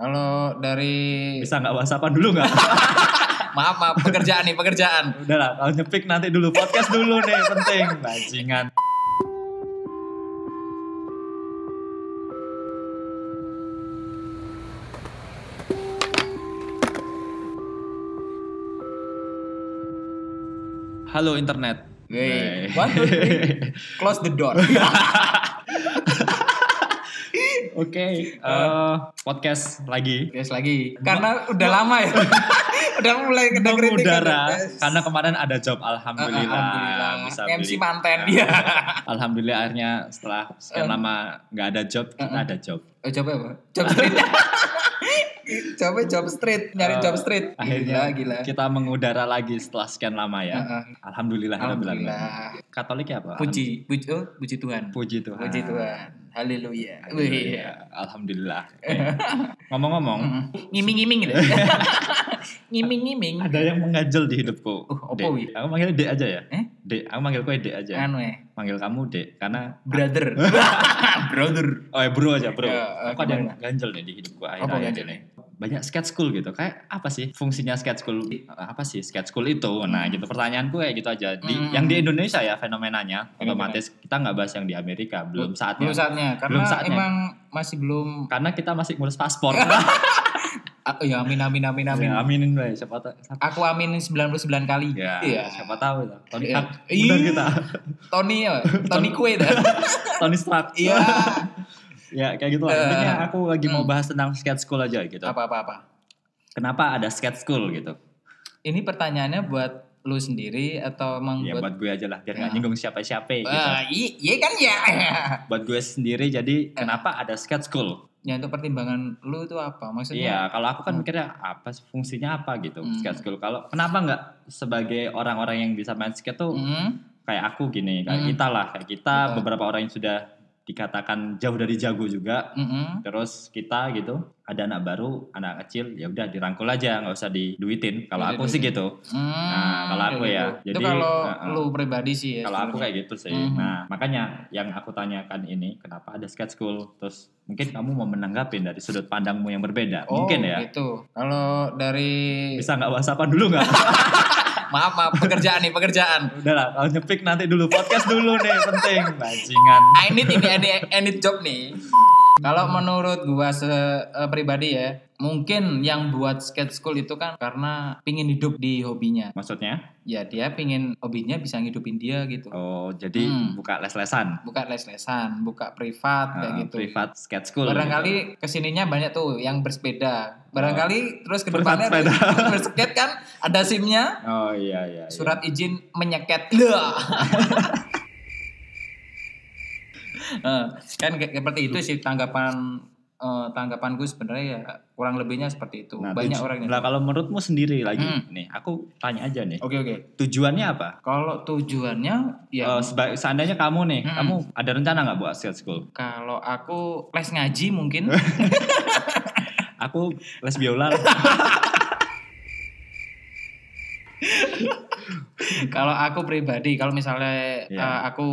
Kalau dari Bisa nggak whatsappan dulu nggak? maaf maaf pekerjaan nih pekerjaan. Udah lah, kalau nyepik nanti dulu podcast dulu nih penting. Bajingan. Halo internet. Wey. Wey. One, two, three. Close the door. Oke, eh, podcast lagi. Guys lagi. Karena udah lama ya. udah mulai ya, kena kritik. Mengudara karena kemarin ada job alhamdulillah, Ah, Alhamdulillah. bisa MC beli. Ya. Nah. manten dia. Alhamdulillah akhirnya setelah sekian Eh. lama nggak ada job, kita ada job. Oh, coba apa? Job street. coba job street, nyari Eh, job street. Akhirnya gila. gila. kita mengudara lagi setelah sekian lama ya. Heeh. Alhamdulillah, alhamdulillah. Alhamdulillah. Katolik ya, Pak? Puji, puji, oh, puji Tuhan. Alhamdulillah. Puji Tuhan. Puji Tuhan. Haleluya. Haleluya. Alhamdulillah. Eh, Ngomong-ngomong, Ngiming-ngiming gitu. Ngiming-ngiming. ada yang mengganjel di hidupku. Uh, apa, Dek. wi? Aku manggilnya Dek aja ya. Eh? Dek, aku manggil kowe Dek aja. Anu ya. Manggil kamu Dek karena Brother. Brother. Oh ya bro aja bro. Ya, eh, aku ada yang gimana? ganjel nih di hidupku Apa akhir-akhir ganjel ini. Banyak sketch school gitu. Kayak apa sih fungsinya sketch school? Apa sih sketch school itu? Nah gitu pertanyaanku kayak gitu aja. Di, Hmm. Yang di Indonesia ya fenomenanya. Fenomena. Otomatis kita nggak bahas yang di Amerika. Belum saatnya. Belum saatnya. Karena Belum saatnya. emang masih belum. Karena kita masih ngurus paspor. Ah, ya amin amin amin amin. Ya, aminin bae. Siapa tahu. siapa- Aku amin 99 kali. Ya, Iya. siapa tahu ya. Tony Iya. Stark. Udah Iya. kita. Tony ya. Tony Kue dah. Tony Stark. Iya. Ya kayak gitu lah. Eh. Intinya aku lagi mau bahas tentang sketch school aja gitu. Apa apa apa. Kenapa ada sketch school gitu? Ini pertanyaannya buat lu sendiri atau emang Ya buat buat gue aja lah biar nggak Ya. nyinggung siapa-siapa gitu. Ah, i- iya kan ya. buat gue sendiri jadi kenapa ada sketch school? ya untuk pertimbangan lu itu apa maksudnya? Iya, kalau aku kan mikirnya apa sih, fungsinya apa gitu Hmm. sketch school? Kalau kenapa nggak sebagai orang-orang yang bisa main skate tuh Hmm? kayak aku gini, kayak Hmm. kita lah, kayak kita Betul. beberapa orang yang sudah dikatakan jauh dari jago juga. Mm-mm. Terus kita gitu, ada anak baru, anak kecil, ya udah dirangkul aja, nggak usah diduitin. Kalau Nggak aku sih gitu. Hmm, Nah, kalau kayak aku ya, gitu. itu jadi, kalau uh-uh. lu pribadi sih ya. Kalau aku sebenarnya. kayak gitu sih. Mhm. Nah, makanya yang aku tanyakan ini, kenapa ada sketch school? Terus mungkin kamu mau menanggapi dari sudut pandangmu yang berbeda. Oh, mungkin ya. gitu. Kalau dari Bisa nggak whatsappan dulu nggak? maaf maaf pekerjaan nih pekerjaan. Udah lah, kalau nyepik nanti dulu podcast dulu nih penting bajingan. I need ini I need, I need job nih. Kalau menurut gua se eh, pribadi ya, mungkin yang buat skate school itu kan karena pingin hidup di hobinya. Maksudnya? Ya dia pingin hobinya bisa ngidupin dia gitu. Oh, jadi Hmm. buka les-lesan. Buka les-lesan, buka privat kayak Eh, gitu. Privat sketch school. Barangkali kesininya banyak tuh yang bersepeda. Barangkali terus ke Ah, Privat depannya sepeda. berskate kan ada SIM-nya, gitu. Oh iya iya. iya. surat izin menyeket Lah. Eh, kan kayak seperti itu sih tanggapan eh, tanggapanku sebenarnya ya kurang lebihnya seperti itu Nah, banyak tuj- orang yang Lah kalau menurutmu sendiri lagi Hmm. Oh. nih, aku tanya aja nih. oke oke Tujuannya apa? kalau tujuannya ya Eh, seba- seandainya kamu nih, Hmm. kamu ada rencana nggak buat sketch school? kalau aku les ngaji mungkin Aku les biola. lah. kalau aku pribadi kalau misalnya Iya. eh, aku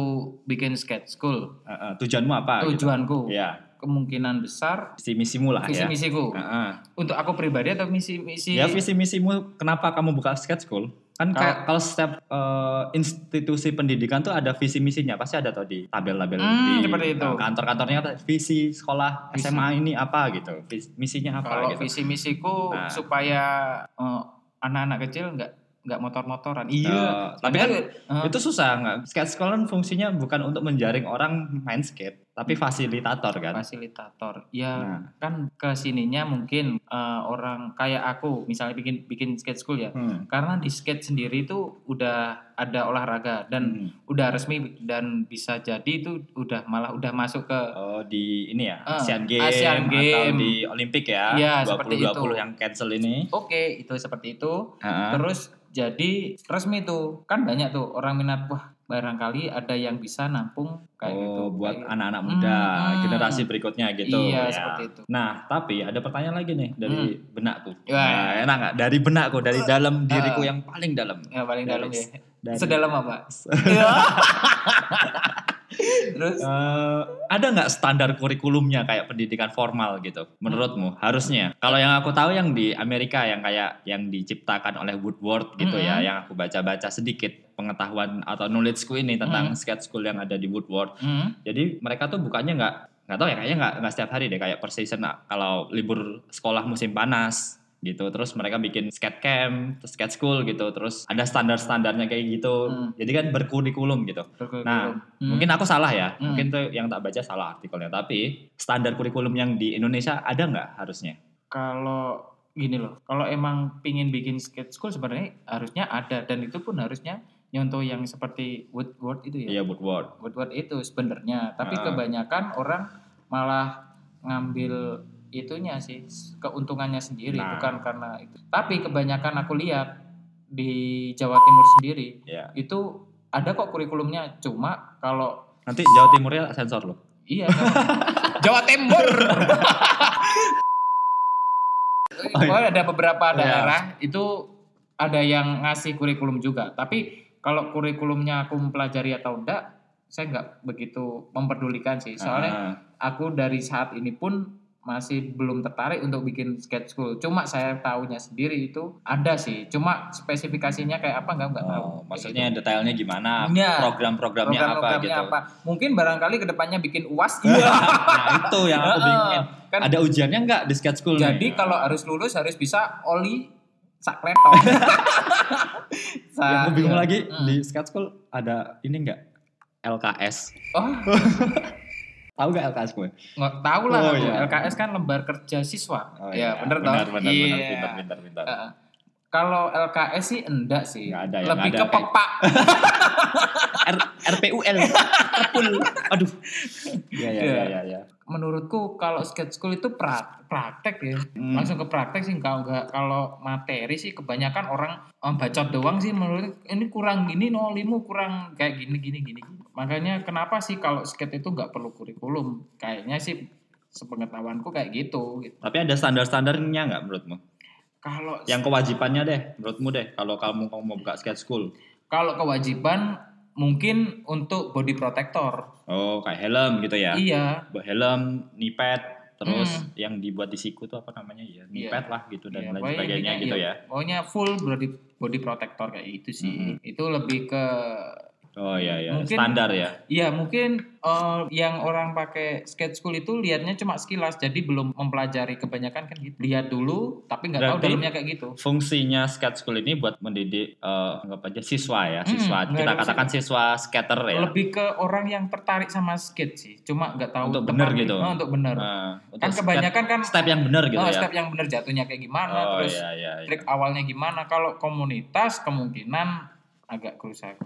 bikin skate school Eh, eh, tujuanmu apa? gitu? tujuanku Ya, kemungkinan besar visi misimu lah visi ya. misiku Heeh. untuk aku pribadi atau misi misi Ya visi misimu kenapa kamu buka sketch school? Kan Kalau- kayak kalau setiap eh, institusi pendidikan tuh ada visi misinya, pasti ada tuh di tabel-tabel Hmm, di seperti itu. eh, kantor-kantornya ada visi sekolah Visi. SMA ini apa gitu. Vis- misinya apa Kalau gitu. visi misiku Nah. supaya eh, anak-anak kecil nggak nggak motor-motoran. Iya, tapi kan eh, Itu susah nggak? Skate school kan fungsinya bukan untuk menjaring orang main skate, tapi Hmm. fasilitator kan. fasilitator. Ya Nah, kan kesininya mungkin eh, orang kayak aku misalnya bikin bikin skate school ya. hmm. Karena di skate sendiri itu udah ada olahraga dan Hmm. udah resmi dan bisa jadi itu udah malah udah masuk ke Oh di ini ya Eh, Asian Games Asian atau Game. di Olimpik ya, Iya, 2020 seperti itu. yang cancel ini. oke itu seperti itu. Heeh. Terus jadi resmi tuh kan banyak tuh orang minat wah barangkali ada yang bisa nampung kayak oh, gitu. buat Kayak anak-anak muda Hmm. generasi berikutnya gitu. Iya, ya. seperti itu. Hmm. Nah, tapi ada pertanyaan lagi nih dari benakku. Wah. Nah, enak nggak? Dari benakku, dari dalam diriku yang paling dalam. Ya paling dalam ya. Dari- Sedalam apa? Se- Iya. Terus Eh, ada nggak standar kurikulumnya kayak pendidikan formal gitu menurutmu harusnya kalau yang aku tahu yang di Amerika yang kayak yang diciptakan oleh Woodward gitu ya Mm-mm. yang aku baca-baca sedikit pengetahuan atau knowledgeku ini tentang skate school yang ada di Woodward hmm, jadi mereka tuh bukannya nggak nggak tahu ya kayaknya nggak nggak setiap hari deh kayak per season nah, kalau libur sekolah musim panas gitu terus mereka bikin skate camp terus skate school gitu terus ada standar-standarnya kayak gitu Hmm. jadi kan berkurikulum gitu kurikulum. Nah, Hmm. Mungkin aku salah ya, Hmm. mungkin tuh yang tak baca salah artikelnya. Tapi standar kurikulum yang di Indonesia ada nggak harusnya? kalau gini loh, kalau emang pingin bikin skate school sebenarnya harusnya ada dan itu pun harusnya nyontoh yang seperti Woodward itu ya. Iya, Woodward. Woodward itu sebenarnya, tapi Ah. kebanyakan orang malah ngambil itunya sih keuntungannya sendiri Nah. bukan karena itu. Tapi kebanyakan aku lihat di Jawa Timur sendiri Ya. itu ada kok kurikulumnya cuma kalau Nanti Jawa Timurnya sensor loh. Iya. Jawa Timur. Oh, iya. Pokoknya ada beberapa Iya. daerah itu ada yang ngasih kurikulum juga. Tapi kalau kurikulumnya aku mempelajari atau enggak, saya enggak begitu memperdulikan sih. Soalnya Ah, aku dari saat ini pun masih belum tertarik untuk bikin skate school. Cuma saya tahunya sendiri itu ada sih. Cuma spesifikasinya kayak apa enggak enggak tahu. oh, maksudnya detailnya gimana? Iya. Program-programnya apa program-programnya gitu? apa? Mungkin barangkali kedepannya bikin UAS. nah itu yang aku Heeh. bingungin. Kan Ada ujiannya nggak di skate school? Jadi nih? kalau harus lulus harus bisa oli sakleto. yang Sa- Ya, aku bingung iya. lagi Hmm. di skate school ada ini nggak? LKS. Oh, Tahu nggak LKS gue? nggak tahu lah. Oh, aku. iya. LKS kan lembar kerja siswa. Oh, ya, bener benar, toh? benar, Iya. benar, pintar, pintar, pintar. Heeh. Kalau LKS sih enggak sih. Nggak ada, yang Lebih ada ke kayak- pepak. R RPUL Terpul Aduh Iya iya Iya. iya iya Menurutku kalau skate school itu pra- praktek ya. Hmm. Langsung ke praktek sih kalau nggak kalau materi sih kebanyakan orang em, bacot doang sih menurut ini kurang gini nolimu kurang kayak gini gini gini. Makanya kenapa sih kalau skate itu nggak perlu kurikulum? Kayaknya sih sepengetahuanku kayak gitu. gitu. Tapi ada standar-standarnya nggak menurutmu? Kalau Yang kewajibannya deh menurutmu deh Kalau kamu kamu mau buka skate school kalau kewajiban mungkin untuk body protector. Oh kayak helm gitu ya Iya, Buat helm, nipet Terus Hmm. yang dibuat di siku tuh apa namanya Iya. ya Nipet lah gitu dan Iya, lain pokoknya sebagainya intinya gitu iya. ya Pokoknya full body body protector kayak gitu sih. Mhm. Itu lebih ke Oh iya iya Mungkin- Standar ya Iya mungkin eh, yang orang pakai skate school itu lihatnya cuma sekilas jadi belum mempelajari kebanyakan kan gitu. Lihat dulu tapi nggak tahu Berarti- dalamnya kayak gitu. Fungsinya skate school ini buat mendidik eh, Anggap aja siswa ya Siswa Hmm, Kita nggak ada Oh, katakan siswa skater ya Lebih ke orang yang tertarik sama skate sih. Cuma nggak tahu Untuk tempat- bener gitu. Oh, untuk bener. Eh, untuk kan skate- kebanyakan kan Step yang bener gitu oh, ya step yang bener jatuhnya kayak gimana Oh terus iya iya iya trik awalnya gimana. Kalau komunitas kemungkinan agak kerusak.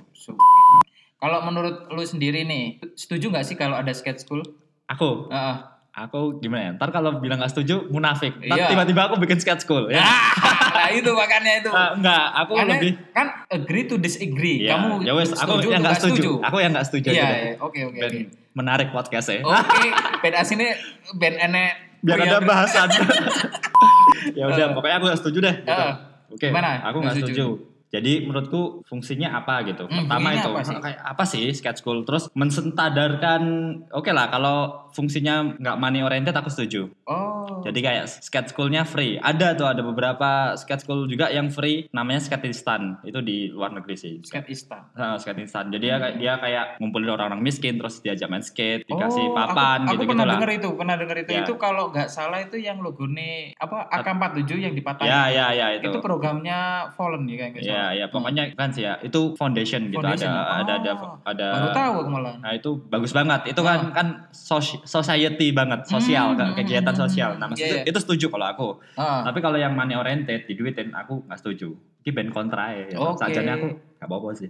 Kalau menurut lu sendiri nih, setuju nggak sih kalau ada skate school? Aku Heeh. aku gimana ya? Ntar kalau bilang gak setuju, munafik. Ntar Iya. tiba-tiba aku bikin sketch school. Ya. nah itu makanya itu. Ah, enggak, aku Karena lebih. kan agree to disagree. Ya, Kamu ya wes, aku setuju atau yang gak setuju. Aku yang gak setuju. Iya, aja deh. iya. Oh, oke oke Ben, oke. menarik podcastnya. Oke, band asine band ene Biar pria- ada bahasan. ya udah, oh, iya. Eh. pokoknya aku gak setuju deh. Gitu. Eh, Oke, gimana? aku Nggak gak setuju. setuju. Jadi menurutku fungsinya apa gitu? Hmm, Pertama fungsinya itu apa sih? kayak apa sih sketch school? Terus mensentadarkan, oke lah kalau fungsinya nggak money oriented aku setuju. Oh. Jadi kayak skate schoolnya free. Ada tuh ada beberapa skate school juga yang free. Namanya skatistan. Itu di luar negeri sih. skate istan. Ah, skatistan. Jadi dia kayak dia kayak ngumpulin orang-orang miskin terus diajak main skate, dikasih Oh, papan aku, aku gitu pernah gitulah. dengar itu, pernah dengar itu. Ya. Itu kalau nggak salah itu yang logone apa AK47 yang dipatahin. Ya ya ya itu. itu programnya Fallen ya kayak nggak salah. Ya ya pokoknya kan sih ya. Itu foundation, gitu Foundation. ada, ada ada Oh, ada Baru tahu aku malah. Nah itu bagus banget. Itu kan kan sos- society banget, sosial Hmm, ke- kegiatan hmm, sosial. Nah, hmm, maksud iya, iya. itu setuju kalau aku. Ah. Tapi kalau yang money oriented diduitin aku nggak setuju. Ini band kontra ya. Oke. Oh, Sajanya aku nggak apa-apa sih.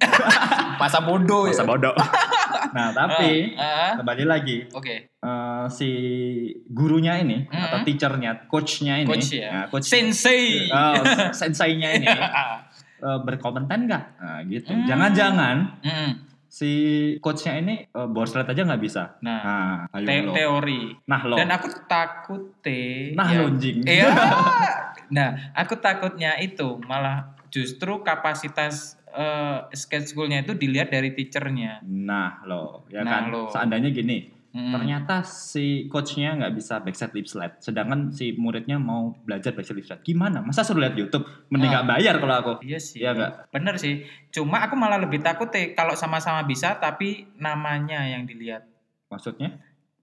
Masa bodoh ya? Masa bodoh. nah tapi Ah, ah. kembali lagi Oke. eh, si gurunya ini Hmm. atau teachernya, coachnya ini, Coach ya. nah, coach Sensei. Oh, sensei-nya ini Ah. eh, berkompeten nggak? Nah, gitu. Hmm. Jangan-jangan Mm. si coachnya ini eh, borslet aja nggak bisa. Nah, Nah, ayo te- lo. teori. Nah lo. Dan aku takut teh. nah ya. lo anjing. Iya. Nah, aku takutnya itu malah justru kapasitas eh, skate schoolnya itu dilihat dari teachernya. Nah loh, ya Nah, kan. loh. Seandainya gini, Hmm. ternyata si coachnya nggak bisa backside lip slide, sedangkan si muridnya mau belajar backside lip slide. Gimana? Masa suruh lihat YouTube? Mending nggak bayar kalau aku. Ah. Iya sih. Iya nggak? Bener sih. Cuma aku malah lebih takut eh, kalau sama-sama bisa tapi namanya yang dilihat. Maksudnya?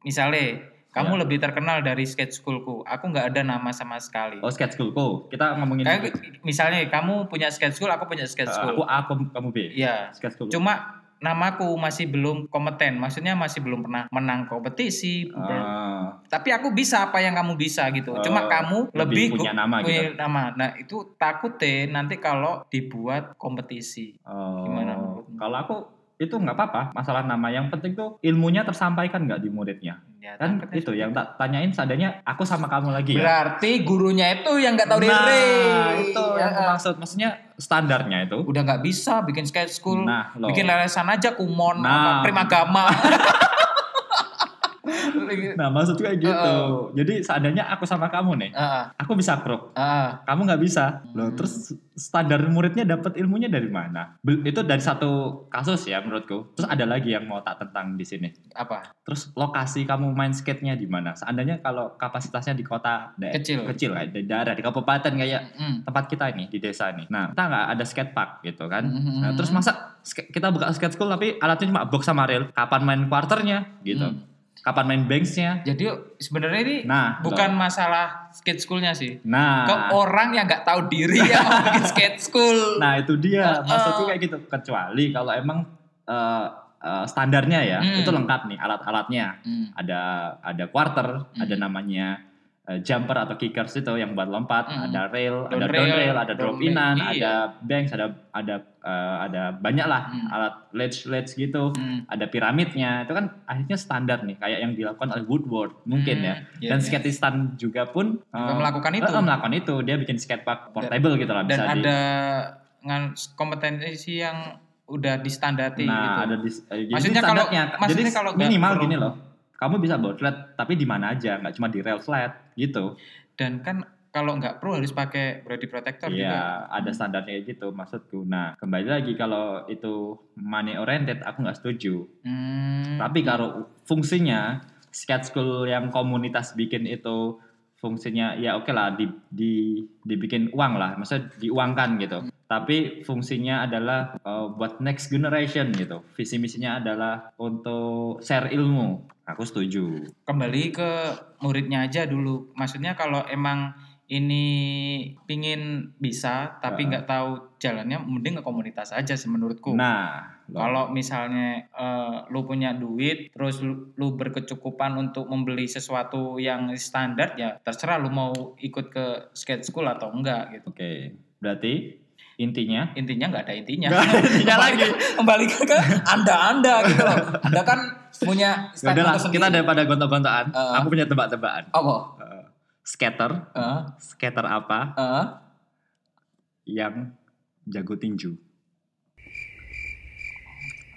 Misalnya kamu Iya. lebih terkenal dari skate schoolku. Aku nggak ada nama sama sekali. Oh skate school Ko. Kita ngomongin. Eh, Kayak misalnya kamu punya skate school, aku punya skate Ah, aku school. A, kamu kamu B. Iya. Skate school. Cuma namaku masih belum kompeten. Maksudnya masih belum pernah menang kompetisi. ber- Ah, Tapi aku bisa apa yang kamu bisa gitu. Cuma Oh, kamu lebih lebih, punya nama gitu. punya nama. Nah, itu takut deh nanti kalau dibuat kompetisi. oh. Gimana menurutmu? Kalau aku itu nggak apa-apa. Masalah nama yang penting tuh ilmunya tersampaikan nggak di muridnya. Ya, Kan takutnya itu yang tak tanyain seandainya aku sama kamu lagi ya. Berarti gurunya itu yang nggak tahu nah, diri. itu yang aku Ya, maksud. Maksudnya standarnya itu. udah nggak bisa bikin skate school, Nah, loh. bikin lelesan aja kumon, Nah. apa, primagama. Nah, maksud gue gitu. Oh. Jadi seandainya aku sama kamu nih, Heeh, aku bisa krok, heeh. kamu nggak bisa. Loh, terus standar muridnya dapat ilmunya dari mana? Bel- Itu dari satu kasus ya menurutku. Terus ada lagi yang mau tak tentang di sini. apa? Terus lokasi kamu main skate-nya di mana? Seandainya kalau kapasitasnya di kota daer- Kecil. kecil kayak di daerah, di kabupaten kayak Mm. tempat kita ini di desa nih. Nah, kita nggak ada skate park gitu kan. Mhm. Nah, terus masa sk- kita buka skate school tapi alatnya cuma box sama rail. Kapan main quarternya gitu? Hmm. Kapan main banksnya? Jadi sebenarnya ini Nah, bukan masalah skate schoolnya sih. Nah, Ke orang yang nggak tahu diri yang mau bikin skate school. nah itu dia. Heeh. Maksudku kayak gitu. Kecuali kalau emang eh, eh, standarnya ya, Hmm. itu lengkap nih alat-alatnya. Mm. Ada ada quarter, Hmm. ada namanya eh, jumper atau kickers itu yang buat lompat, Hmm. ada rail, Down ada down rail, rail, ada down drop leg, inan, iya. ada banks, ada ada eh, ada banyak lah Hmm. alat ledge ledge gitu. Mm. Ada piramidnya, itu kan akhirnya standar nih, kayak yang dilakukan oleh Woodward mungkin Mm. ya. Iya, Dan iya. skatistan juga pun Juga eh, melakukan Nah, itu. eh, melakukan itu, dia bikin skatepark portable gitu lah dan bisa di- ada ngan kompetensi yang udah distandarti Nah, gitu. ada di eh, jadi Maksudnya kalau- standarnya. maksudnya jadi kalau nggak minimal pro- gini loh. Kamu bisa botlet tapi di mana aja, nggak cuma di rail flat gitu. Dan kan kalau nggak pro harus pakai body protector Iya, ada standarnya kayak gitu maksudku. Nah, kembali lagi kalau itu money oriented aku nggak juga. setuju. Hmm. Tapi kalau fungsinya skate school yang komunitas bikin itu fungsinya ya oke lah di, di dibikin uang lah, maksudnya diuangkan gitu. Tapi fungsinya adalah eh, buat next generation gitu. Visi misinya adalah untuk share ilmu. Aku setuju. kembali ke muridnya aja dulu. Maksudnya kalau emang ini pingin bisa tapi Heeh. nggak tahu jalannya mending ke komunitas aja sih menurutku. Nah, lo- Kalau misalnya eh, lu punya duit, terus lu, lu berkecukupan untuk membeli sesuatu yang standar, ya terserah lu mau ikut ke skate school atau enggak gitu. oke. Berarti intinya Intinya nggak ada intinya. Nggak ada intinya Kembali- lagi. Kembali ke ke anda-anda gitu loh. Anda kan punya ya udahlah, statement kita tersendiri. daripada gontok-gontokan, gitu. Eh. aku punya tebak-tebakan. Apa? Eh, skater, Eh, skater apa eh. yang jago tinju?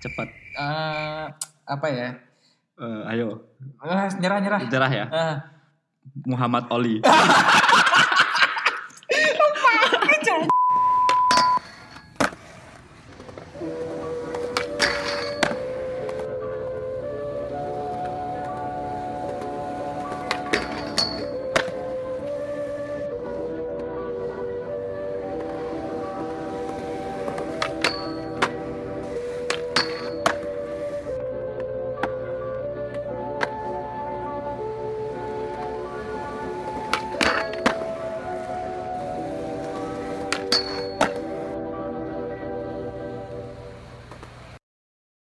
Cepat. eh apa ya? Eh, ayo, Eh, nyerah nyerah. cerah ya. Eh, Muhammad Oli.